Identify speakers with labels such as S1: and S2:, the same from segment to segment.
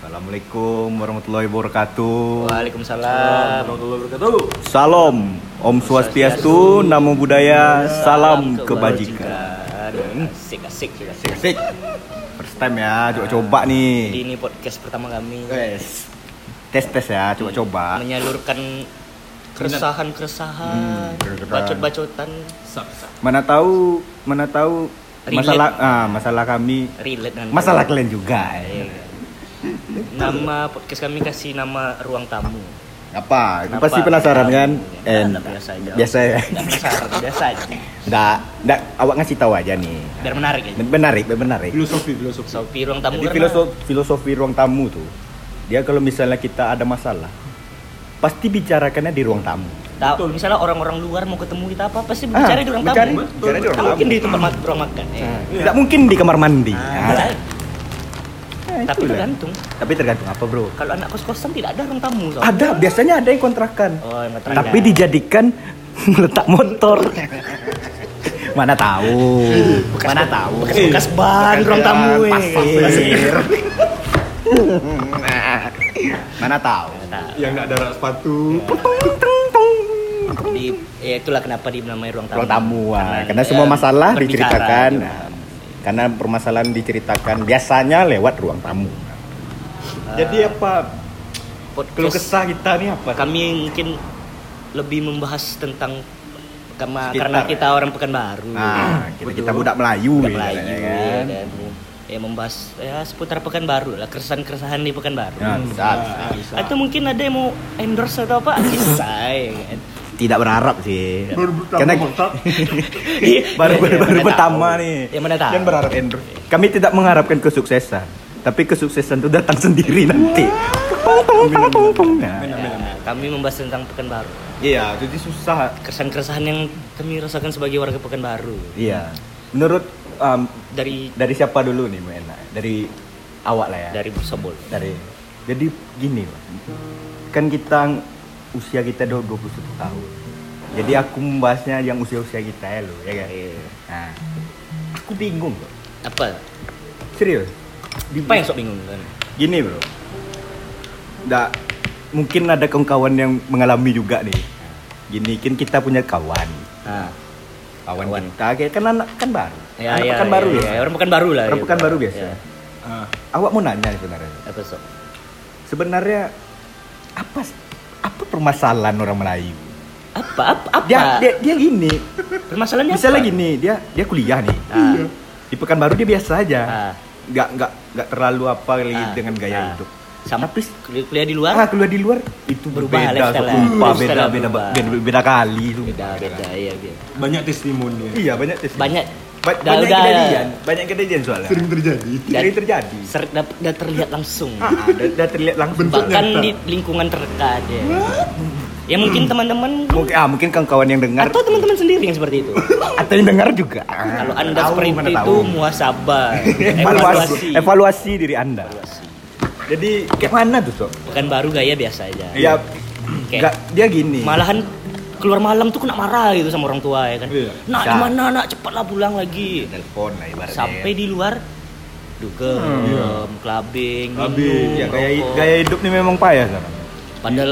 S1: Assalamualaikum warahmatullahi wabarakatuh.
S2: Waalaikumsalam.
S3: Warahmatullahi wabarakatuh.
S1: Salam, Om Swastiastu, Namo Buddhaya, Ya, Salam Kebajikan.
S2: kebajikan. Hmm. Asik, asik, asik.
S1: Sik. First time ya, coba-coba nih.
S2: Ini podcast pertama kami
S1: Wes. Tes-tes ya, coba-coba.
S2: menyalurkan keresahan-keresahan,
S1: Hmm,
S2: bacot-bacotan,
S3: Sap, sap.
S1: Mana tahu, mana tahu
S2: Relate.
S1: masalah ah, masalah kami,
S2: relate dengan
S1: masalah kalian juga.
S2: Iya.
S1: ya.
S2: Nama podcast kami kasih nama ruang tamu.
S1: Apa?
S2: Kenapa?
S1: Pasti penasaran kan?
S2: Ya,
S1: En,
S2: biasa aja.
S1: biasa ya.
S2: Nggak besar, biasa aja.
S1: Nggak, nggak, awak ngasih tahu aja nih.
S2: Biar menarik aja.
S1: Menarik, menarik.
S3: Filosofi, filosofi.
S2: Sopi ruang tamu kan
S1: Jadi
S2: karena
S1: filosofi, filosofi ruang tamu tuh, dia kalau misalnya kita ada masalah, pasti bicarakannya di ruang tamu.
S2: tahu-
S3: Betul.
S2: misalnya orang-orang luar mau ketemu kita apa pasti bicara
S1: Ah,
S2: di ruang
S1: bicara-
S2: tamu.
S1: bicara di ruang
S2: Nggak Mungkin
S1: tamu.
S2: di tempat mak- ruang makan. ya.
S3: Iya.
S1: Tidak mungkin di kamar mandi.
S2: Ah,
S1: Nah, nah,
S2: Tapi
S1: itulah.
S2: tergantung.
S1: Tapi tergantung apa bro?
S2: Kalau anak kos-kosan tidak ada ruang tamu. Sob.
S1: Ada, biasanya ada yang kontrakan.
S2: Oh, yang ngetrang
S1: Tapi
S2: ya.
S1: dijadikan meletak motor. Mana tahu? Mana tahu?
S2: bekas ban ruang tamu ya.
S1: eh. Pasir. Mana tahu?
S2: Nah,
S3: Yang nggak ada rak sepatu.
S2: di ya itulah kenapa dinamai ruang tamu.
S1: ruang tamu ah. karena
S2: ya,
S1: semua masalah
S2: berbicara
S1: diceritakan
S2: di ruang
S1: Nah,
S2: tamu.
S1: karena permasalahan diceritakan biasanya lewat ruang tamu
S3: Jadi apa?
S2: Podcast
S3: Keluh kesah kita nih apa?
S2: kami mungkin lebih membahas tentang karena,
S1: Sekitar,
S2: karena
S1: ya.
S2: kita orang Pekanbaru.
S1: nah kita, kita
S2: Betul.
S1: budak Melayu
S2: Budak
S1: ya,
S2: Melayu,
S1: katanya,
S2: ya,
S1: kan?
S2: dan ya membahas ya seputar Pekanbaru lah keresahan-keresahan di Pekanbaru.
S1: Nah, bisa, bisa.
S3: bisa.
S2: Atau mungkin ada yang mau endorse atau apa? Bisa. ya kan.
S1: tidak berharap sih
S3: Baru
S1: Ya.
S3: bertambah
S1: karena Iya,
S3: kontak.
S1: baru
S2: Ya,
S1: baru,
S2: ya,
S1: baru
S2: mana
S1: pertama
S2: tahu.
S1: nih
S2: Ya mana tahu.
S1: Jangan berharap endorse kami tidak mengharapkan kesuksesan tapi kesuksesan itu datang sendiri nanti
S3: Iya,
S1: Nah,
S2: Ya, kami membahas tentang Pekanbaru.
S1: iya jadi susah
S2: Keresahan-keresahan yang kami rasakan sebagai warga Pekanbaru.
S1: iya menurut um,
S2: Dari
S1: dari siapa dulu nih Bu Ena? dari awak lah ya
S2: dari Sobol.
S1: dari jadi gini Pak. kan kita usia kita udah 21 tahun jadi aku membahasnya yang usia-usia kita ya lo ya kan
S2: Iya.
S1: nah, aku bingung bro
S2: Apa?
S1: serius Di-
S2: Apa yang sok bingung kan?
S1: gini bro nggak mungkin ada kawan-kawan yang mengalami juga nih gini kan kita punya kawan
S2: Nah,
S1: Ah, kawan,
S2: Kawan.
S1: kita kayak- kan anak kan baru
S2: ya,
S1: anak
S2: ya,
S1: kan baru
S2: ya,
S1: ya,
S2: ya, orang Pekanbaru lah.
S1: Orang
S2: ya.
S1: Pekanbaru biasa.
S2: Ya.
S3: Ah,
S1: awak mau nanya nih sebenarnya
S2: Apa sok?
S1: sebenarnya apa apa permasalahan orang Melayu
S2: Apa? Apa? apa?
S1: dia Ya, dia, dia gini
S2: Permasalahannya
S1: misalnya
S2: apa?
S1: gini dia dia kuliah nih
S2: Ah.
S1: Iya. di Pekanbaru dia biasa aja
S2: Ah.
S1: nggak nggak nggak terlalu apa kali
S2: Ah,
S1: dengan gaya
S2: ah.
S1: hidup
S2: Sama
S1: tapi
S2: kul- kuliah di luar?
S1: ah, keluar di luar itu
S2: Berubah
S1: berbeda
S2: lifestyle-nya.
S1: sumpah beda
S2: Lifestyle-nya
S1: beda,
S2: berubah.
S1: beda beda kali itu
S2: Beda, beda, iya, iya.
S3: banyak testimoni.
S1: iya banyak tes
S2: Banyak.
S1: Ba-
S2: Dah-
S1: banyak
S2: dah-
S1: kejadian banyak kejadian soalnya
S3: Sering terjadi.
S2: Dan-
S1: sering terjadi
S2: Ser, dap- dah terlihat langsung.
S1: ah, ah, dah, dah terlihat langsung
S2: Bahkan
S3: nyata.
S2: di lingkungan terdekat ya. Ya mungkin teman-teman
S1: mungkin ah mungkin kawan-kawan yang dengar
S2: atau teman-teman sendiri yang seperti itu.
S1: atau yang dengar juga Ah,
S2: Kalau Anda
S1: tahu,
S2: seperti
S1: mana
S2: itu
S1: tahu.
S2: muasabah.
S1: evaluasi
S2: Evaluasi.
S1: evaluasi diri anda
S2: Evaluasi.
S1: jadi kayak mana tuh sok
S2: Bukan baru gaya biasa aja.
S1: ya
S2: Kayak-
S1: nggak- dia gini
S2: Malahan keluar malam tuh kena marah gitu sama orang tua ya kan.
S3: Iya.
S2: Nak
S1: Bisa.
S2: gimana nak cepatlah pulang lagi.
S1: telepon lah ibaratnya
S2: Sampai di luar dugem, clubbing,
S3: Clubbing,
S2: minum,
S1: Hmm. ya, gaya,
S2: rokok.
S1: gaya hidup nih memang payah sekarang
S2: Padahal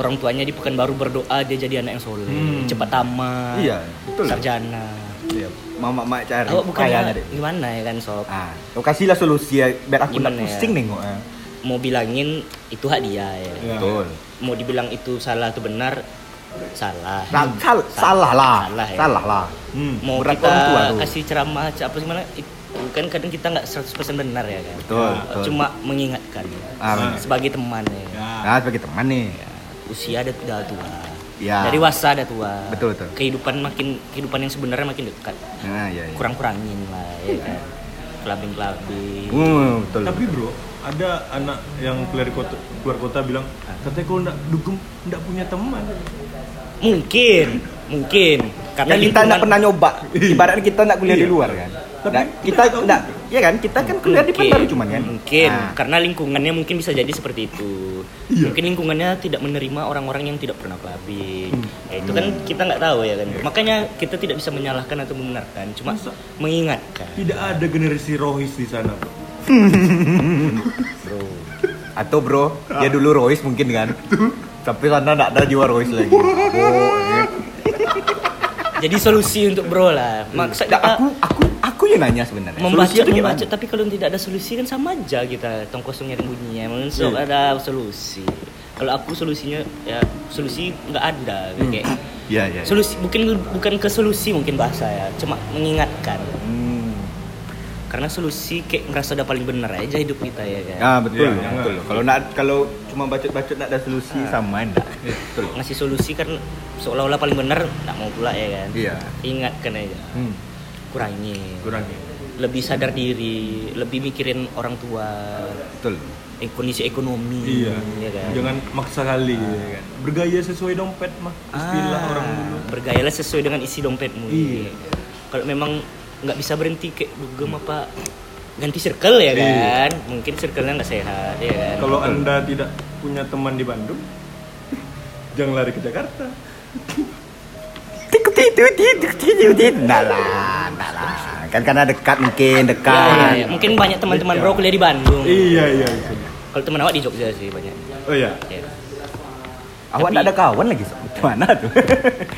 S2: orang tuanya di Pekanbaru berdoa dia jadi anak yang soleh, cepat tamat,
S1: Hmm. Iya, betul.
S2: sarjana.
S1: iya mama mak cari
S2: Awak bukan
S1: payah
S2: mak-
S1: deh
S2: gimana ya kan sob?
S1: ah kau kasihlah solusi ya, biar aku nggak
S2: Gimana ya?
S1: pusing nengok ya.
S2: Mau bilangin itu hak dia ya.
S3: Iya.
S1: betul
S2: Mau dibilang itu salah atau benar salah.
S1: nah, sal- salah lah
S2: Salah
S1: salah,
S2: ya.
S1: lah
S3: Hmm.
S2: Mau
S1: berat
S2: kita
S1: orang tua tuh.
S2: kasih ceramah c- apa gimana? Itu kan kadang kita nggak 100% benar ya kan.
S1: betul,
S3: Ya,
S1: betul.
S2: Cuma mengingatkan ya.
S1: Ah, benar.
S2: sebagai teman ya.
S3: Ya.
S1: nah sebagai teman nih
S2: Iya. Usia ada udah tua.
S1: Ya.
S2: Dari wasa ada tua.
S1: Betul, betul.
S2: Kehidupan makin kehidupan yang sebenarnya makin dekat.
S1: nah ya, ya.
S2: kurang-kurangin lah ya kan clubbing clubbing
S1: Hmm, betul
S3: Tapi bro, ada anak yang keluar kota, keluar kota bilang, katanya kalau nggak dugem, nggak punya teman.
S2: mungkin mungkin karena
S1: Kan kita
S2: lingkungan-
S1: nggak pernah nyoba. Ibaratnya kita nggak kuliah di
S3: Iya.
S1: luar kan.
S3: Tapi
S1: Nah, kita nggak, iya kan? Kita kan kuliah di Pekanbaru cuman kan.
S2: mungkin
S1: Nah, Iya.
S2: karena lingkungannya mungkin bisa jadi seperti itu mungkin lingkungannya tidak menerima orang-orang yang tidak pernah clubbing
S1: Hmm.
S2: Ya, itu kan kita nggak tahu ya kan
S1: Iya.
S2: makanya kita tidak bisa menyalahkan atau membenarkan cuma
S3: Masa?
S2: mengingatkan
S3: Tidak ada generasi rohis di sana. Bro.
S2: bro
S1: Atau bro, dia dulu Royce mungkin kan. Tapi karena enggak ada jiwa Royce lagi. Mabok.
S2: Jadi solusi untuk bro lah. Maksud
S1: Nggak,
S2: kita
S1: Hmm. Nah, aku aku aku yang nanya sebenarnya.
S2: membaca
S1: Solusinya tuh gimana?
S2: membaca tapi kalau tidak ada solusi kan sama aja kita tong kosong nyari bunyi ya Mungkin so-
S3: Iya.
S2: ada solusi kalau aku solusinya ya solusi nggak ada kayak
S1: Iya, iya. iya.
S2: solusi mungkin bukan ke solusi mungkin bahasa ya cuma mengingatkan
S1: Hmm.
S2: karena solusi kayak ngerasa udah paling bener aja hidup kita ya kan
S1: Ah, betul.
S3: Iya, iya.
S1: betul. Kalau nak kalau cuma bacot-bacot enggak ada solusi sama enggak. Betul.
S2: ngasih solusi kan seolah-olah paling bener nggak mau pula ya kan
S1: Iya.
S2: ingatkan aja
S1: Hmm.
S2: kurangi
S3: kurangnya
S2: lebih sadar diri lebih mikirin orang tua
S1: Betul.
S2: eh, kondisi ekonomi
S3: iya
S2: ya kan
S3: jangan maksa kali ya kan bergaya sesuai dompet mah istilah
S2: Ah,
S3: orang dulu
S2: bergayalah sesuai dengan isi dompetmu
S3: Iya.
S2: kalau memang nggak bisa berhenti kayak dugem apa ganti circle ya
S3: Iya.
S2: kan mungkin circle-nya nggak sehat ya kan
S3: kalau anda tidak punya teman di Bandung jangan lari ke Jakarta
S1: Enggak lah, enggak lah. Kan karena dekat mungkin,
S2: Ya, ya, ya.
S1: dekat.
S2: mungkin banyak teman-teman bro kuliah di Bandung
S3: iya iya itu dia.
S2: kalau teman awak di Jogja sih banyak
S3: oh iya
S2: ya.
S1: Awak
S2: Tapi-
S1: enggak ada kawan lagi, Sob. Mana tuh?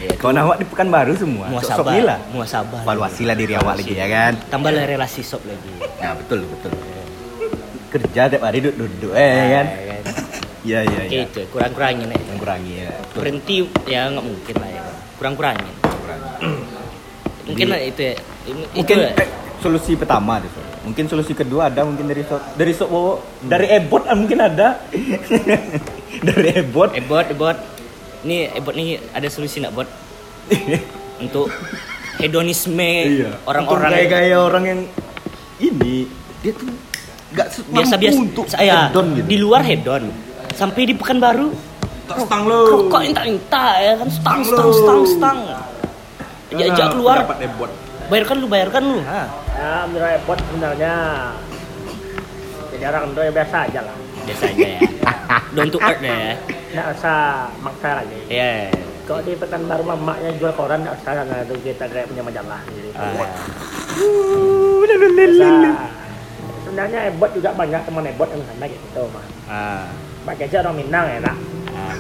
S2: Iya,
S1: Kawan awak di Pekanbaru semua. Sok-sok
S2: muasabah
S1: gila.
S2: muasabah
S1: Evaluasilah diri awak lagi ya kan.
S2: tambahlah relasi sob lagi
S1: Nah, betul, betul. Kerja tiap hari duduk-duduk eh kan.
S2: Ya, kan?
S1: Iya, iya,
S2: Oke,
S1: iya.
S2: itu kurang-kurangin ya
S1: Yang kurangi ya. Betul,
S2: berhenti ya nggak mungkin lah ya kan. kurang-kurangin
S1: kurangi.
S2: mungkin lah itu ya Ini- itu
S1: mungkin
S2: ya.
S1: eh, solusi pertama tuh Sob. mungkin solusi kedua ada mungkin dari so dari sok Wowo. dari ebot ah, mungkin ada dari ebot
S2: Ebot, Ebot. Eh, Ini Ebot nih ada solusi nggak Bot? Untuk hedonisme
S3: Iya.
S1: orang kayak
S2: orang-orang
S1: kayak orang yang ini dia tuh nggak se-
S2: biasa-biasa.
S1: mampu untuk
S2: Saya
S1: hedon gitu
S2: di luar hedon. Sampai di Pekanbaru
S3: tak stang lo
S2: rokok minta-minta ya kan stang stang stang stang.
S3: Karena
S2: Ajak keluar,
S3: pendapat ebot
S2: bayarkan lu bayarkan lu. Ha.
S4: Ya, Miro Ebot sebenarnya jadi orang Indo yang biasa aja lah.
S2: Biasa aja ya. Don't to earth ya.
S4: Nggak usah maksa lagi.
S2: Ya.
S4: Kalau di petan baru maknya jual koran, nggak usah nggak ada kita kayak punya majalah. Jadi,
S2: Ah.
S4: nggak usah. Sebenarnya Ebot juga banyak teman Ebot yang sana gitu mah.
S2: Ah.
S4: Pakai aja orang Minang ya lah.
S2: Ah.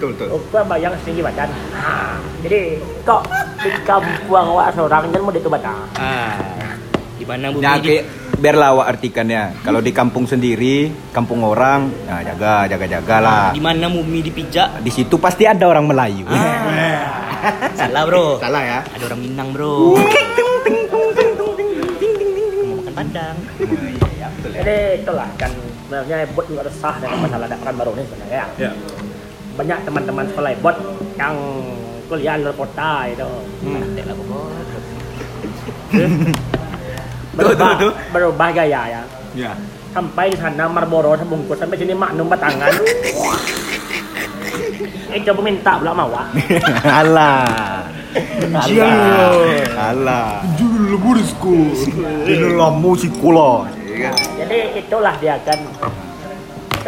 S1: betul betul
S4: Ukuran bayang setinggi badan. Nah, jadi kok di kampung awak seorang jangan mau nah. itu badan.
S2: Ah. Di mana bumi
S1: nah
S2: di
S1: kayak biar lawak artikannya ya. kalau di kampung sendiri kampung orang nah jaga jaga jaga lah
S2: di mana bumi dipijak?
S1: di situ pasti ada orang Melayu
S2: Salah,
S1: Ah.
S2: Bro.
S1: salah ya
S2: Ada orang Minang bro. Mau makan Padang.
S4: Jadi itulah kan sebenarnya Ebot juga resah dengan masalah dakwaan baru ini sebenarnya.
S3: ya
S4: banyak teman-teman sekolah bot yang kuliah luar kota itu Nah,
S2: Tidak lah pokok.
S4: berubah,
S1: tuh, tuh.
S4: berubah gaya ya
S3: ya
S4: sampai di sana Marlboro sebungkus sampai sini Magnum batangan eh coba minta pula mawa
S1: Alah. Alah. Alah.
S3: dulu burisku
S1: Ini lamu si kula.
S4: jadi itulah dia kan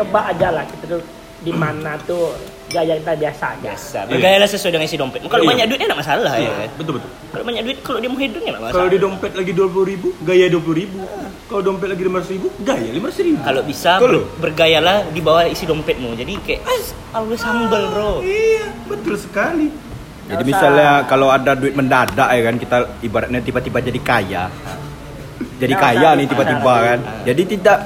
S4: coba aja lah kita tuh di mana tuh gaya kita biasa aja
S2: Biasa. Bergayalah sesuai dengan isi dompet. Kalau
S3: Iya.
S2: banyak duitnya enggak masalah ya. kan?
S3: betul betul
S2: Kalau banyak duit kalau dia mau hedon enggak masalah.
S3: kalau di dompet lagi dua puluh ribu gaya dua puluh ribu kalau dompet lagi lima ribu gaya lima ribu
S2: kalau bisa
S1: Betul
S2: ber-
S1: loh.
S2: bergayalah di bawah isi dompetmu. Jadi kayak always humble, bro.
S3: iya betul sekali
S1: Jadi misalnya kalau ada duit mendadak ya kan kita ibaratnya tiba-tiba jadi kaya. Jadi kaya nih tiba-tiba kan. Jadi tidak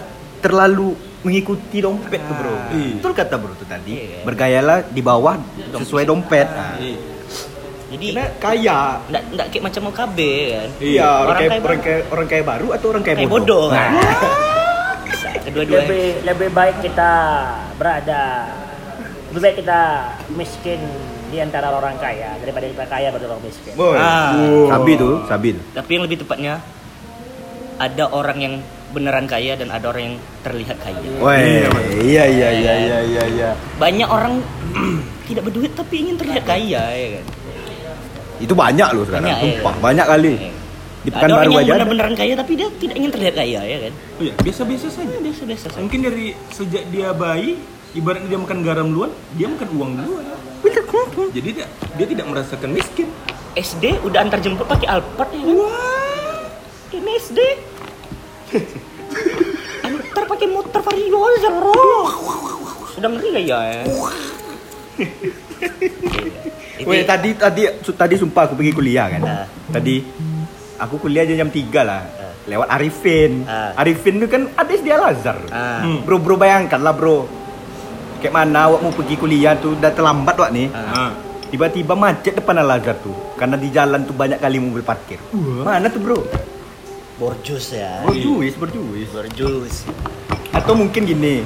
S1: terlalu mengikuti dompet tuh bro.
S3: Iya.
S1: Betul kata bro tuh tadi.
S2: Ah. Iya. Ah.
S1: Bergayalah di bawah sesuai dompet. Nah,
S3: iya
S2: Jadi
S1: Karena kaya.
S2: enggak enggak kayak macam mau KB kan.
S1: Iya, orang
S2: Orang
S1: kaya,
S2: kaya
S1: orang kaya, orang kaya baru atau orang kaya
S2: Kayak bodoh.
S1: bodoh?
S2: kan?
S1: Nah, Iya,
S2: Bisa kedua-duanya.
S4: lebih lebih baik kita berada lebih baik kita miskin di antara orang kaya daripada kita kaya pada orang miskin
S1: boy.
S2: Ah.
S1: Sabi tuh, sabi tuh.
S2: Tapi yang lebih tepatnya ada orang yang beneran kaya dan ada orang yang terlihat kaya.
S1: Woi, iya iya iya iya iya iya.
S2: banyak orang tidak berduit tapi ingin terlihat kaya ya kan
S1: Itu banyak loh sekarang,
S2: Banyak, iya.
S1: sumpah banyak kali.
S2: Iya.
S1: Di
S2: ada orang
S1: Pekanbaru
S2: yang
S1: aja. ada.
S2: benar-benaran kaya tapi dia tidak ingin terlihat kaya ya kan
S3: Oh iya, biasa-biasa saja.
S2: biasa-biasa saja
S3: Mungkin dari sejak dia bayi, ibaratnya dia makan garam duluan, dia makan uang duluan. Jadi dia, dia tidak merasakan miskin.
S2: SD udah antar jemput pakai Alphard ya kan ini SD antar pakai motor Vario ngeri banget seru. Udah ngeri gak ya? Itu-
S1: Weh, tadi tadi su- tadi sumpah aku pergi kuliah kan.
S2: Ah.
S1: Tadi aku kuliah aja jam 3 lah.
S2: Ah.
S1: Lewat Arifin.
S2: Ah.
S1: Arifin itu kan ada di Al Azhar.
S2: Ah.
S3: Hmm.
S1: Bro, bro bayangkan lah bro. Kayak mana awak mau pergi kuliah tuh udah terlambat wak nih.
S3: Ah.
S1: Tiba-tiba macet depan Al Azhar tuh. Karena di jalan tuh banyak kali mobil parkir.
S3: Wah.
S1: Mana tuh bro?
S2: Borjus ya.
S1: Berjuis, berjuis.
S2: Borjus.
S1: Atau mungkin gini.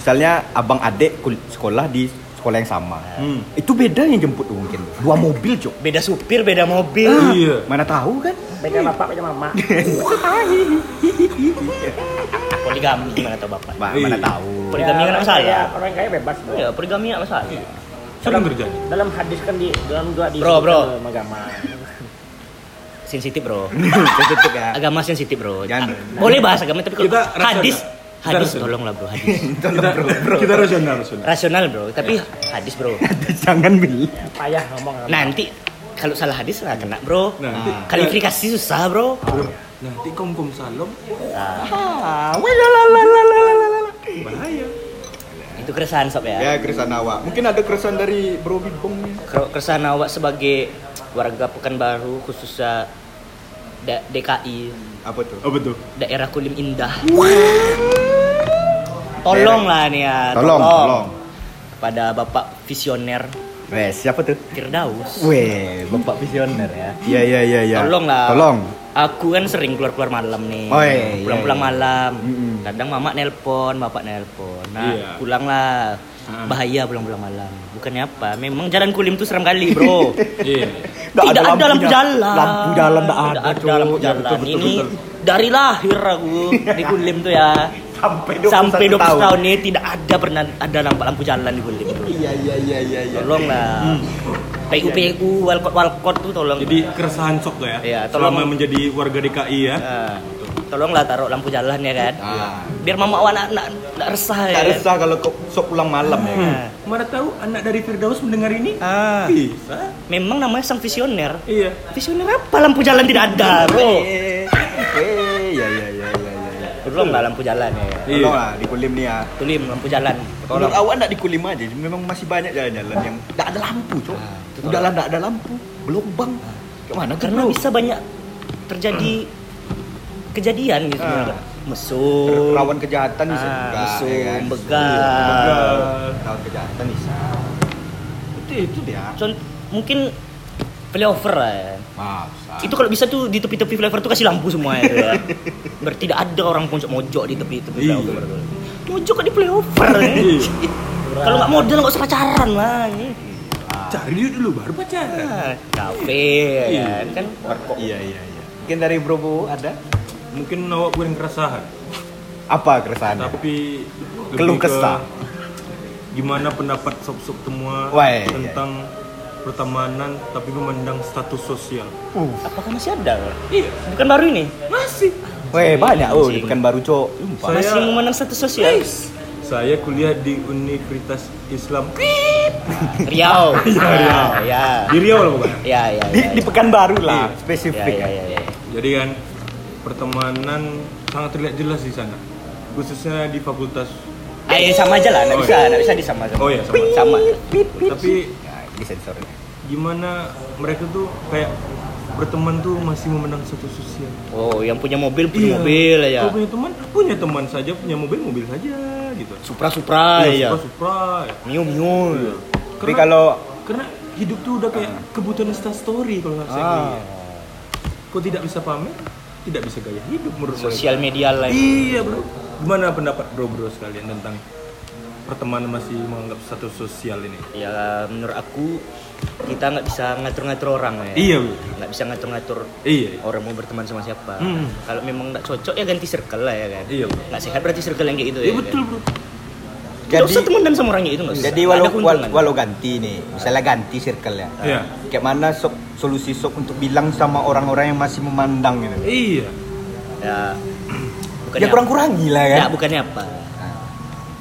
S1: Misalnya abang adik kul- sekolah di sekolah yang sama.
S2: Ah.
S3: Hmm.
S1: Itu beda yang jemput tuh mungkin. Dua mobil, Cok.
S2: Beda supir, beda mobil.
S3: Iya.
S1: Mana tahu kan?
S4: Beda bapak, beda mama.
S2: Poligami gimana tau bapak?
S1: Ba-
S3: Iya.
S1: mana tahu.
S2: Poligami
S4: Ya,
S2: kan
S4: orang
S2: masalah.
S4: kaya, Orang kaya bebas.
S2: Oh ya, poligami gak masalah.
S3: Sering terjadi.
S4: Dalam hadis kan di dalam doa di
S2: Bro, bro.
S4: dalam agama.
S2: Sensitif bro.
S1: Cocok ya.
S2: Agama sensitif bro.
S1: Jangan.
S2: Ah, Boleh bahas agama tapi kalau
S3: Kita rasional.
S2: hadis,
S3: Kita
S2: hadis
S3: rasional.
S2: tolonglah bro hadis.
S3: Kita, kita rasional, rasional.
S2: Rasional bro, tapi hadis bro.
S1: Jangan beli.
S4: Payah ngomong.
S2: Nanti kalau salah hadis lah kena bro.
S3: Nanti.
S2: Ah, Kalifikasi susah bro.
S3: Nanti komkom salom
S1: Ah, wah, la, la, la, la, la, la, la, la.
S3: bahaya.
S2: Itu keresahan sob ya.
S1: Ya keresahan awak. Mungkin ada keresahan dari Bro Bibong.
S2: Kalau keresahan awak sebagai warga Pekanbaru khususnya da- DKI
S1: Apa tuh?
S3: Oh betul.
S2: daerah Kulim Indah. Tolonglah nih ya.
S1: Tolong, tolong.
S2: Pada bapak visioner
S1: Wes, siapa tuh?
S2: Firdaus.
S1: Weh, bapak visioner ya. Iya, iya, iya, iya.
S2: Tolonglah.
S1: Tolong.
S2: Aku kan sering keluar-keluar malam nih.
S1: Oh, iya, iya,
S2: Pulang-pulang
S1: iya.
S2: malam.
S1: Mm-mm.
S2: Kadang mama nelpon, bapak nelpon. Nah,
S3: Iya.
S2: pulanglah.
S3: Ah.
S2: Bahaya pulang-pulang malam. Bukannya apa? Memang jalan Kulim tuh seram kali, Bro.
S3: Iya.
S2: Tidak ada, lampu,
S1: da-
S2: jalan.
S1: Lampu dalam tidak ada.
S2: Tidak ada lampu
S1: Cuk. Ya,
S2: jalan.
S1: betul, betul,
S2: ini
S1: betul.
S2: dari lahir aku di Kulim tuh ya.
S1: sampai 21
S2: Sampai 20 tahun.
S1: tahun.
S2: ini tidak ada pernah ada lampu lampu jalan di Kulim. bro.
S1: Iya, iya, iya, iya, iya.
S2: Tolonglah. PU PU Walkot Walkot tuh tolong.
S3: Jadi keresahan sok tuh ya.
S2: Iya, tolong.
S3: Selama menjadi warga DKI
S1: Iya.
S3: ya.
S2: Nah, Ah, tolonglah taruh lampu jalan ya kan.
S1: Ah.
S2: Biar mama awak nak nak, nak resah ya.
S1: Tak
S2: kan?
S1: resah kalau kau sok pulang malam ya. kan?
S2: Nah.
S3: Mana tahu anak dari Firdaus mendengar ini?
S2: Ah,
S3: Bisa.
S2: memang namanya sang visioner.
S3: Iya.
S2: Visioner apa lampu jalan tidak ada, bro.
S1: Eh, eh, iya, iya, iya, iya, iya.
S2: Tolonglah lampu jalan ya.
S3: Iya.
S1: Tolonglah di kulim nih ya.
S2: Tulim lampu jalan.
S1: Menurut awak nak di kulim aja, memang masih banyak jalan-jalan yang tak ada lampu, cok.
S2: Ah, itu
S1: Udah lah tak ada lampu, gelombang.
S3: Ah.
S1: Kemana tuh,
S2: karena
S1: bro?
S2: bisa banyak terjadi kejadian gitu
S1: Ah.
S2: mesum
S1: rawan kejahatan bisa
S2: Ah,
S1: juga,
S2: mesum,
S1: ya kan?
S2: begal.
S1: Begal. Rawan kejahatan bisa. Itu itu dia.
S2: Contoh, mungkin flyover lah ya.
S1: Maaf.
S2: itu kalau bisa tuh di tepi-tepi flyover tuh kasih lampu semua ya, tuh ya. Biar tidak ada orang pojok mojok di tepi-tepi
S3: Iya.
S2: flyover tuh. mojok kan di flyover ya.
S3: Iya.
S2: kalau nggak modal nggak usah pacaran lah ini
S3: Cari duit dulu baru
S2: Ah,
S3: pacaran.
S2: kafe ya
S3: Iya.
S2: kan kan warkop
S1: Iya, iya, iya. Mungkin dari Bro Bo ada
S3: Mungkin awak kurang keresahan,
S1: apa keresahannya?
S3: tapi lebih
S1: Keluh
S3: ke
S1: kesah.
S3: Gimana pendapat sob-sob semua
S1: Wah, iya, iya.
S3: tentang pertemanan tapi memandang status sosial?
S2: apakah masih ada
S3: Iya,
S2: bukan baru ini
S3: masih.
S1: Weh, banyak oh, di
S2: Anjing.
S1: pekan baru, cok. Sumpah.
S3: Saya-
S2: masih memandang status
S3: Iya.
S2: sosial
S3: Saya kuliah di Universitas Islam
S2: Riau
S3: Iya,
S2: Iya, Riau ya
S3: di Riau lah pokoknya.
S2: ya ya
S1: Di,
S2: ya,
S1: di pekan baru lah,
S3: Iya.
S2: ya,
S1: spesifik.
S2: ya, ya, ya.
S3: Jadi kan pertemanan sangat terlihat jelas di sana, khususnya di fakultas.
S2: Eh, sama aja lah, nggak
S3: Oh,
S2: bisa,
S3: iya.
S2: nggak bisa disama sama.
S3: Oh, iya, sama.
S2: sama.
S3: Tapi
S1: Ya, ini sensornya.
S3: gimana mereka tuh kayak berteman tuh masih memandang status sosial.
S2: Oh, yang punya mobil
S3: Iya.
S2: punya mobil ya. iya. aja.
S3: Kalau punya teman, punya teman saja, punya mobil mobil saja gitu.
S2: Supra Supra
S3: Iya,
S2: ya.
S3: Supra, Supra.
S2: Mio Mio.
S1: Tapi kalau
S3: karena hidup tuh udah kayak kebutuhan insta story kalau nggak saya
S1: Ah.
S3: kuliah. Kok tidak bisa pamer, tidak bisa gaya hidup menurut mereka.
S2: Sosial media lain.
S3: Iya bro. Gimana pendapat bro bro sekalian tentang pertemanan masih menganggap status sosial ini?
S2: Ya menurut aku kita nggak bisa ngatur-ngatur orang ya.
S3: Iya bro.
S2: Nggak bisa ngatur-ngatur
S3: Iya.
S2: orang mau berteman sama siapa.
S3: Hmm.
S2: Kalau memang nggak cocok ya ganti circle lah ya kan.
S3: Iya, bro.
S2: Nggak sehat berarti circle yang kayak gitu ya.
S3: Iya
S2: kan?
S3: betul bro.
S2: Nggak usah
S1: Jadi-
S2: temenan sama orang kayak itu nggak usah.
S1: Jadi
S2: Nggak
S1: walau,
S2: ada keuntungan.
S1: wal- walau ganti nih, misalnya ganti circle ya.
S3: Iya.
S1: Kayak mana sok solusi sok untuk bilang sama orang-orang yang masih memandang gitu.
S3: Iya.
S2: ya
S1: ya kurang-kurangi lah kan.
S2: Ya, bukannya apa?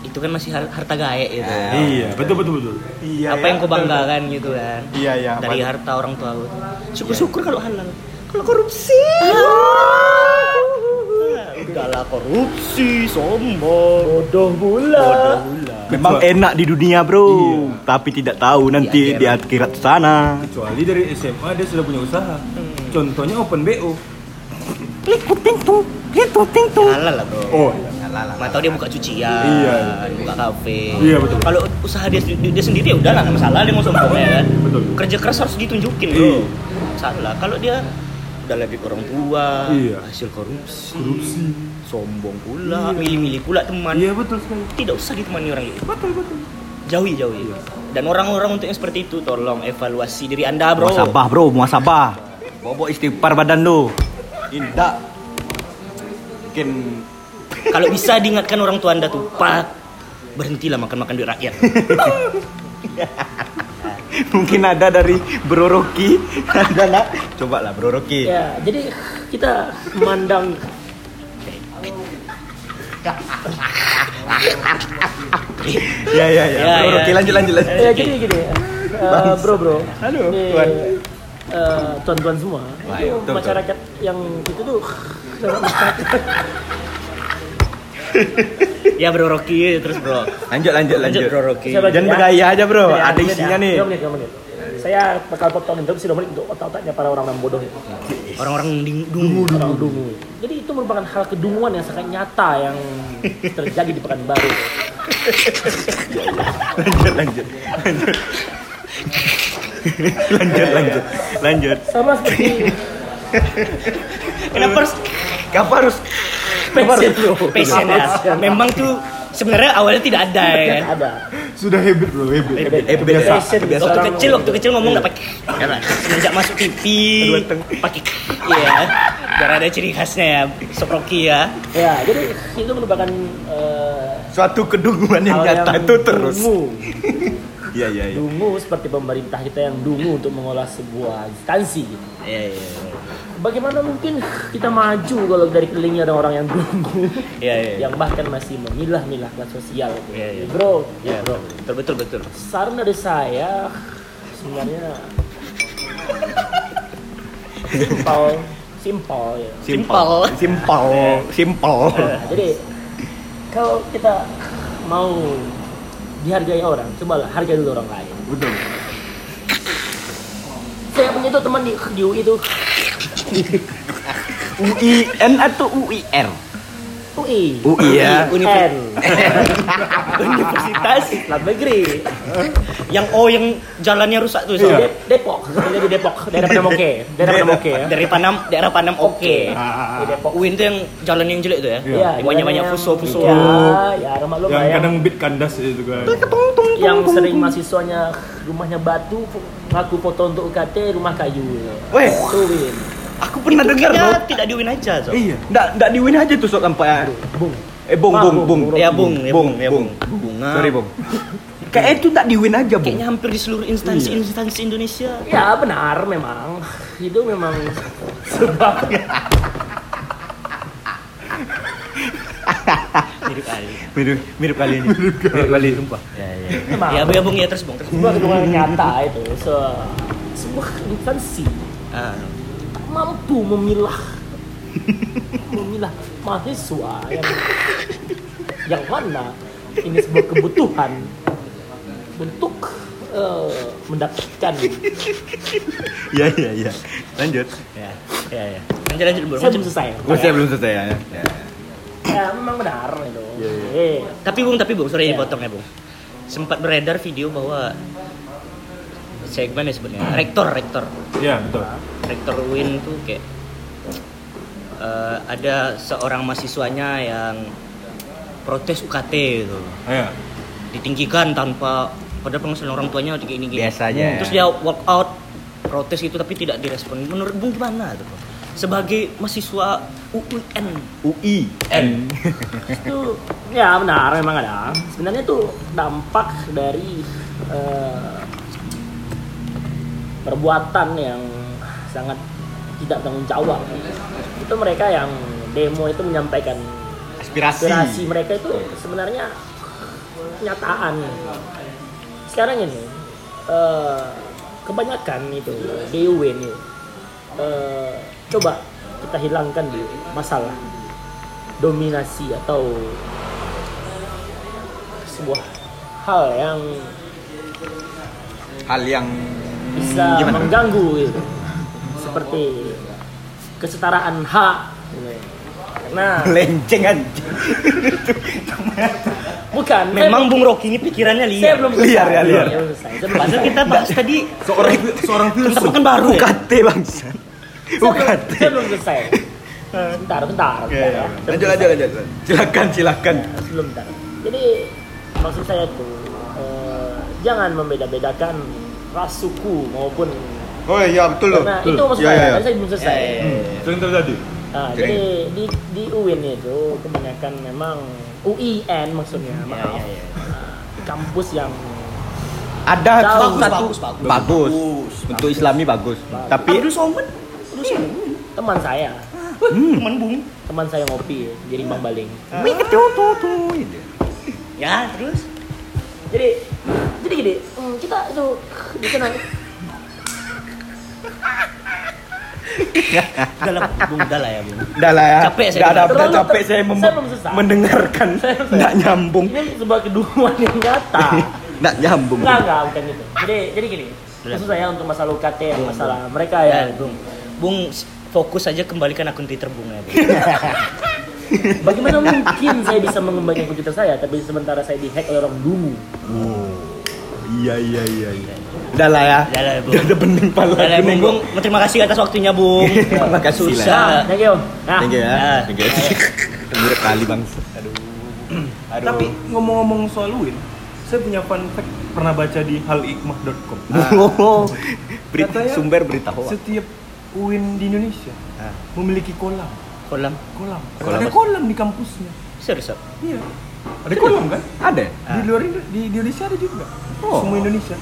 S2: Itu kan masih har- harta gaek gitu.
S1: Ah.
S3: Iya. Betul betul betul.
S1: Iya. ya.
S2: apa yang kau banggakan gitu kan?
S1: Iya, iya.
S2: Dari
S1: Apa-
S2: harta orang tua Iya. Ah. aku. Syukur-syukur kalau halal. Kalau korupsi. Gala korupsi, sombong.
S4: Bodoh pula.
S2: Bodoh pula.
S1: Memang enak di dunia bro, tapi tidak tahu nanti di akhirat
S2: akhirat.
S1: sana.
S3: Kecuali dari SMA dia sudah punya usaha. Contohnya open BO.
S2: Halal lah bro.
S3: Oh,
S1: iya.
S2: Atau dia buka cucian,
S3: Iya.
S2: buka kafe.
S3: Iya, betul.
S2: Kalau usaha dia, dia sendiri ya udahlah nggak masalah dia mau sombong ya kan.
S3: Betul.
S2: Kerja keras harus ditunjukin
S3: Iya.
S2: bro. Salah. Kalau dia udah lagi ke orang tua,
S3: Iya.
S2: hasil korupsi,
S3: korupsi.
S2: sombong pula, milih-milih pula teman.
S3: Iya betul sekali.
S2: Tidak usah ditemani orang itu.
S3: Betul betul.
S2: Jauhi, jauhi.
S3: Iya.
S2: Dan orang-orang untuk yang seperti itu tolong evaluasi diri Anda, Bro.
S1: Muasabah bro, muasabah. Bobok istighfar badan lu. Indah. Mungkin
S2: Kalau bisa diingatkan orang tua Anda tuh, Pak, berhentilah makan-makan duit rakyat.
S1: mungkin ada dari Bro Rocky. ada nak? Coba lah Bro Rocky.
S4: Ya, jadi kita mandang
S1: Ya ya ya.
S2: Ya,
S1: Bro
S2: ya.
S1: Rocky lanjut lanjut lanjut.
S4: ya gini gini. Eh, bro bro.
S1: Iya, Halo,
S4: Ini,
S1: tuan.
S4: eh, tuan-tuan semua.
S1: Wah,
S4: itu
S1: betul,
S4: masyarakat yang itu tuh
S2: ya, Bro Rocky, terus Bro.
S1: Lanjut lanjut lanjut.
S2: Bro Rocky.
S4: Siapa?
S1: Jangan bergaya aja bro,
S4: Jadi,
S1: ada
S4: dua menit
S1: isinya
S4: ya.
S1: nih.
S4: Dua menit, dua menit. Saya bakal potong interupsi dua menit untuk otak-otaknya para orang-orang bodoh itu.
S2: Orang-orang ding- dungu.
S4: Orang
S1: Hmm.
S4: dungu. Jadi itu merupakan hal kedunguan yang sangat nyata yang terjadi di Pekanbaru.
S1: Lanjut lanjut. Lanjut lanjut. Lanjut.
S4: Sama seperti
S2: Kenapa harus
S1: Kenapa harus
S4: passion lo.
S2: passion ya? Memang tuh sebenarnya awalnya tidak ada ya kan.
S4: ada.
S3: Sudah habit bro, habit.
S1: Habit, habit, Eh, biasa,
S4: Passion.
S1: biasa.
S2: Waktu
S4: Seorang-
S2: kecil, waktu kecil ngomong nggak pakai, ya kan? Semenjak masuk TV, pakai, ya, biar ada ciri khasnya ya, Sob Rocky ya.
S4: Ya, jadi itu merupakan eh,
S1: suatu kedunguan yang
S4: hal
S1: nyata
S4: yang
S1: itu terus.
S4: Dungu.
S1: Iya iya iya.
S4: dungu seperti pemerintah kita yang dungu untuk mengolah sebuah instansi. gitu.
S2: Iya, iya,
S4: Bagaimana mungkin kita maju kalau dari kelilingnya ada orang yang dungu,
S2: iya, iya.
S4: yang bahkan masih memilah-milah kelas sosial. gitu.
S2: Iya, iya.
S4: Bro,
S2: Iya,
S4: bro.
S2: bro. Betul, betul, betul.
S4: Saran dari saya sebenarnya simpel, simpel ya.
S2: Simpel.
S1: Simpel, simpel.
S4: Nah, jadi kalau kita mau dihargai orang, cobalah hargai dulu orang lain.
S1: Betul.
S4: Saya punya tuh teman di, di UI itu
S1: UIN atau UIR?
S4: UI.
S1: UI ya.
S4: N.
S2: Universitas
S4: Dalam negeri.
S2: yang oh yang jalannya rusak tuh
S4: So,
S2: sob.
S4: De- Depok. Dia di Depok. Daerah Panamoke. Daerah Panamoke ya.
S2: dari Panam daerah Panam oke
S4: Di Depok.
S2: Uin tuh yang jalan yang jelek tuh ya,
S3: Iya.
S2: Yang Iya. banyak-banyak fuso-fuso Iya.
S4: Ya, ya rumah lu
S3: Yang
S4: yang,
S3: kadang beat kandas itu kan.
S4: yang sering mahasiswanya rumahnya batu, ngaku foto untuk UKT, rumah kayu.
S1: Weh.
S4: Itu Win.
S2: Aku pernah dengar
S1: Bro.
S2: tidak di Uin aja sob.
S1: Iya. Nggak, nggak di win aja tuh sok sampai.
S4: Bung.
S1: Eh bung
S4: Wah,
S1: bung bung.
S4: Bung,
S2: Ya bung, ya bung, ya bung.
S1: bung.
S2: Bunga.
S1: Sorry bung. Kayaknya itu nggak di win aja bung.
S2: Kayaknya hampir di seluruh instansi-instansi Indonesia.
S4: Ya benar memang. Itu memang sebab
S2: Mirip Ali.
S1: Mirip mirip kali ini. mirip kali sumpah.
S2: Ya, ya.
S4: Memang.
S2: Ya, ya bung ya terus bung terus.
S4: sebuah kedungan nyata itu. So, sebuah instansi
S2: Ah.
S4: mampu memilah memilah mahasiswa yang yang mana ini sebuah kebutuhan untuk eh, mendapatkan
S1: Iya iya iya. Lanjut.
S2: Ya, ya, ya. Lanjut lanjut bung.
S4: saya
S2: lanjut.
S4: belum selesai
S1: Oh, saya belum selesai ya. Ya.
S4: ya memang benar itu
S2: Ya,
S4: Eh,
S2: Tapi Bung, tapi Bung, sorry
S4: Ya.
S2: dipotong ya Bung. Sempat beredar video bahwa segmen ya sebenarnya rektor rektor
S3: Iya, betul.
S2: rektor Win tuh kayak eh, ada seorang mahasiswanya yang protes UKT gitu
S3: Ayo.
S2: ditinggikan tanpa pada pengusaha orang tuanya kayak gini gini
S1: Biasanya ya.
S2: terus dia walk out protes gitu tapi tidak direspon menurut Bung gimana tuh Bung? sebagai mahasiswa UIN
S1: UI.
S2: N
S4: itu ya benar memang ada sebenarnya itu dampak dari eh, perbuatan yang sangat tidak tanggung jawab itu mereka yang demo itu menyampaikan
S1: Aspirasi.
S4: aspirasi mereka itu sebenarnya kenyataan sekarang ini eh, kebanyakan itu di UIN itu eh, coba kita hilangkan di masalah dominasi atau sebuah hal yang
S1: hal yang
S4: bisa
S1: gimana?
S4: mengganggu gitu. seperti kesetaraan hak gitu. karena
S1: lenceng kan
S4: bukan saya
S2: Memang
S4: belum-
S2: Bung Rocky ini pikirannya
S4: saya
S2: liar.
S4: belum
S1: Liar ya, liar.
S4: Saya belum selesai. Saya belum
S2: Padahal
S4: selesai.
S2: kita bahas tadi
S3: seorang seorang filsuf
S2: tentang kan baru ya.
S1: UKT bangsa
S4: Saya belum-
S1: UKT
S4: saya belum selesai bentar bentar, bentar
S1: Ya, ya.
S4: ya. Saya
S1: lanjut
S4: belum
S1: lanjut lanjut silakan silakan
S4: sebelum tar. Jadi maksud saya tuh eh, jangan membeda-bedakan ras suku maupun
S1: oh iya betul
S4: karena itu maksud saya. Tadi saya belum
S2: Iya,
S4: selesai.
S1: Iya.
S3: sering terjadi
S4: Nah,
S1: Oke.
S4: jadi di di UIN itu kebanyakan memang UIN maksudnya maaf
S2: ya, ya.
S4: Nah, kampus yang
S1: ada
S4: Bagus,
S1: satu
S4: bagus,
S1: bagus, bagus, untuk Islami bagus, tapi
S2: Abdul Somad, Abdul Somad.
S4: teman saya
S2: Teman Bung.
S4: teman saya ngopi di Rimbang Baling
S2: Ya, terus
S4: jadi jadi gini hmm, kita itu di sana
S2: udah lah, Bung, udah lah ya, Bung.
S1: Udah lah ya.
S2: Capek saya
S1: Udah ada
S4: dengar.
S1: udah capek
S4: Terlalu-
S1: saya, mem-
S4: saya belum selesai.
S1: mendengarkan.
S4: Saya belum
S1: Nggak
S4: selesai.
S1: nyambung.
S4: ini sebuah kedudukan yang nyata
S1: Nggak nyambung.
S4: Enggak, enggak, bukan gitu. Jadi jadi gini.
S2: Jelas.
S4: Maksud saya untuk masalah UKT yang masalah mereka ya,
S2: Bung. Bung s- fokus aja kembalikan akun Twitter Bung ya, Bung.
S4: Bagaimana mungkin saya bisa mengembangkan komputer saya tapi sementara saya dihack oleh orang dulu.
S1: Oh, Iya iya iya iya. Udah lah ya.
S2: Udah lah ya, Bung.
S1: Udah ada bening pala.
S2: Udah lah, ya, Bung.
S1: kuning.
S2: Bung, terima kasih atas waktunya, Bung.
S1: Terima kasih lah.
S2: Susah.
S4: Thank you. Nah,
S1: Ah. Thank you
S2: Nah.
S1: ya. Thank you. Bener kali bang. Aduh. Aduh.
S3: tapi ngomong-ngomong soal Win saya punya fun fact pernah baca di halikmah.com
S1: Oh, berita,
S3: Katanya-
S1: sumber berita hoax.
S3: setiap Uin di Indonesia
S1: Ah.
S3: memiliki kolam
S2: Kolam.
S3: kolam
S1: Kolam
S3: ada
S1: apa?
S3: kolam di kampusnya
S2: Serius. Sob.
S3: iya ada kolam kan
S1: Ada.
S3: di luar Indo- di Indonesia ada juga
S1: Oh.
S3: semua Indonesia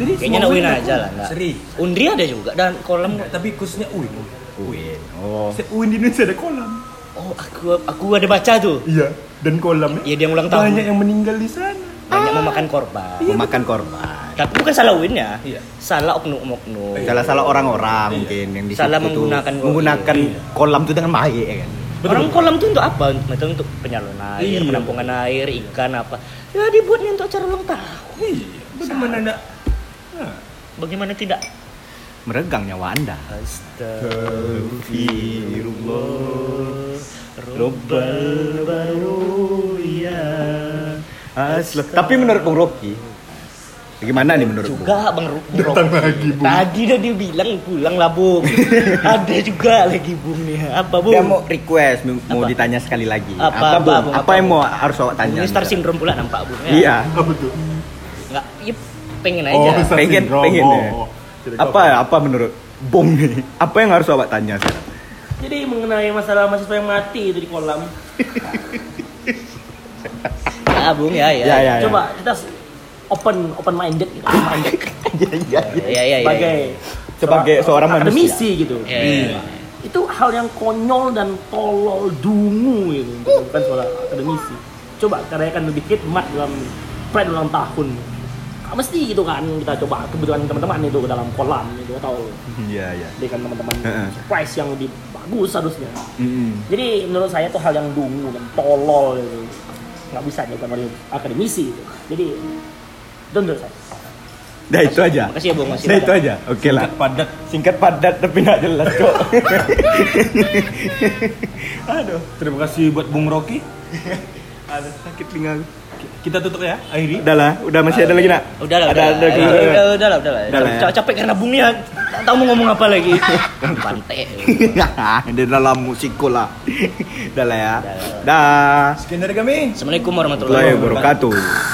S3: jadi
S2: Kayaknya
S3: semua
S2: nak Win
S3: ada
S2: aja
S3: kolam.
S2: lah, enggak.
S3: serius
S2: Undri ada juga dan kolam
S3: Enggak, tapi khususnya Uin
S1: Win. Oh.
S3: Setiap Uin di Indonesia ada kolam
S2: Oh, aku aku ada baca tuh.
S3: iya dan kolamnya
S2: Ya dia yang ulang tahun.
S3: banyak yang meninggal di sana
S2: banyak memakan korban.
S1: Memakan korban.
S2: Tapi bukan salah Winnya,
S3: Iya.
S2: salah oknum-oknum.
S1: Salah salah orang-orang
S3: Iya.
S1: mungkin yang di
S2: Salah
S1: situ tuh
S2: menggunakan kolam.
S1: menggunakan
S2: Iya.
S1: kolam itu dengan baik ya kan.
S2: Orang kolam tuh untuk apa? Untuk- Mereka untuk penyaluran air,
S3: Iya.
S2: penampungan air, ikan apa. Ya dibuatnya untuk acara ulang tahun.
S3: iya bagaimana enggak Nah,
S2: Bagaimana tidak?
S1: Meregang nyawa anda. Asli. Tapi menurut Bung Rocky, bagaimana nih menurut Bung?
S2: Juga Ah, Bang Ru- Bung
S3: Datang
S2: Rocky.
S3: lagi, Bung.
S2: Tadi udah dia bilang pulang lah Bung. Ada juga lagi Bung nih. Apa Bung?
S1: Dia mau request, mau- mau
S2: Apa?
S1: ditanya sekali lagi.
S2: Apa, apa,
S1: Bung?
S2: Bung?
S1: Apa,
S2: Apa,
S1: yang mau
S2: Bung?
S1: harus awak tanya?
S2: Ini star
S1: Bung?
S2: syndrome pula nampak Bung. ya?
S1: Iya.
S3: apa tuh
S2: Nggak, ya pengen aja.
S3: Oh, bisa
S1: Pengen,
S3: sindrom.
S1: pengen ya.
S3: Oh, oh. Jadi
S1: Apa
S3: kau-
S1: apa menurut Bung nih? Apa yang harus awak tanya sekarang?
S4: Jadi mengenai masalah mahasiswa yang mati itu di kolam.
S2: Ya, Bung ya ya.
S1: Ya, ya.
S4: Coba kita open open minded gitu. Open minded
S1: Iya, iya, iya.
S2: Ya, ya, ya.
S4: sebagai
S1: Sebagai seorang
S4: akademisi gitu.
S2: Ya, ya, ya.
S4: Itu hal yang konyol dan tolol dungu gitu. Bukan soal akademisi. Coba karyakan lebih hikmat dalam pride ulang tahun. Nggak Mesti gitu kan kita coba kebutuhan teman-teman itu ke dalam kolam itu atau
S1: Iya, iya.
S4: berikan teman-teman
S1: Heeh.
S4: surprise yang lebih bagus harusnya.
S1: Mm-mm.
S4: Jadi menurut saya itu hal yang dungu dan tolol gitu. Nggak bisa dilakukan oleh akademisi gitu. Jadi itu menurut saya.
S1: Dah itu aja.
S2: Makasih ya Bung, makasih.
S1: Nah itu aja, oke lah.
S3: Singkat, padat
S1: Singkat padat tapi nggak jelas kok.
S3: Aduh, terima kasih buat Bung Rocky.
S1: Ada sakit telinga.
S3: Kita tutup ya, Airi.
S1: Udah lah, udah masih ada lagi nak?
S2: Udah lah,
S1: ada,
S2: udah,
S1: ada,
S2: lah,
S1: ada,
S2: udah, udah, udah lah, udah lah.
S1: Udah lah, ya.
S2: Capek, capek karena bungnya, tak tahu mau ngomong apa lagi. Pantai.
S1: Di dalam musikola. Udah lah ya.
S2: Dah lah.
S1: Dah.
S3: Sekian dari kami.
S2: Assalamualaikum warahmatullahi
S1: Assalamualaikum
S2: wabarakatuh.
S1: warahmatullahi wabarakatuh.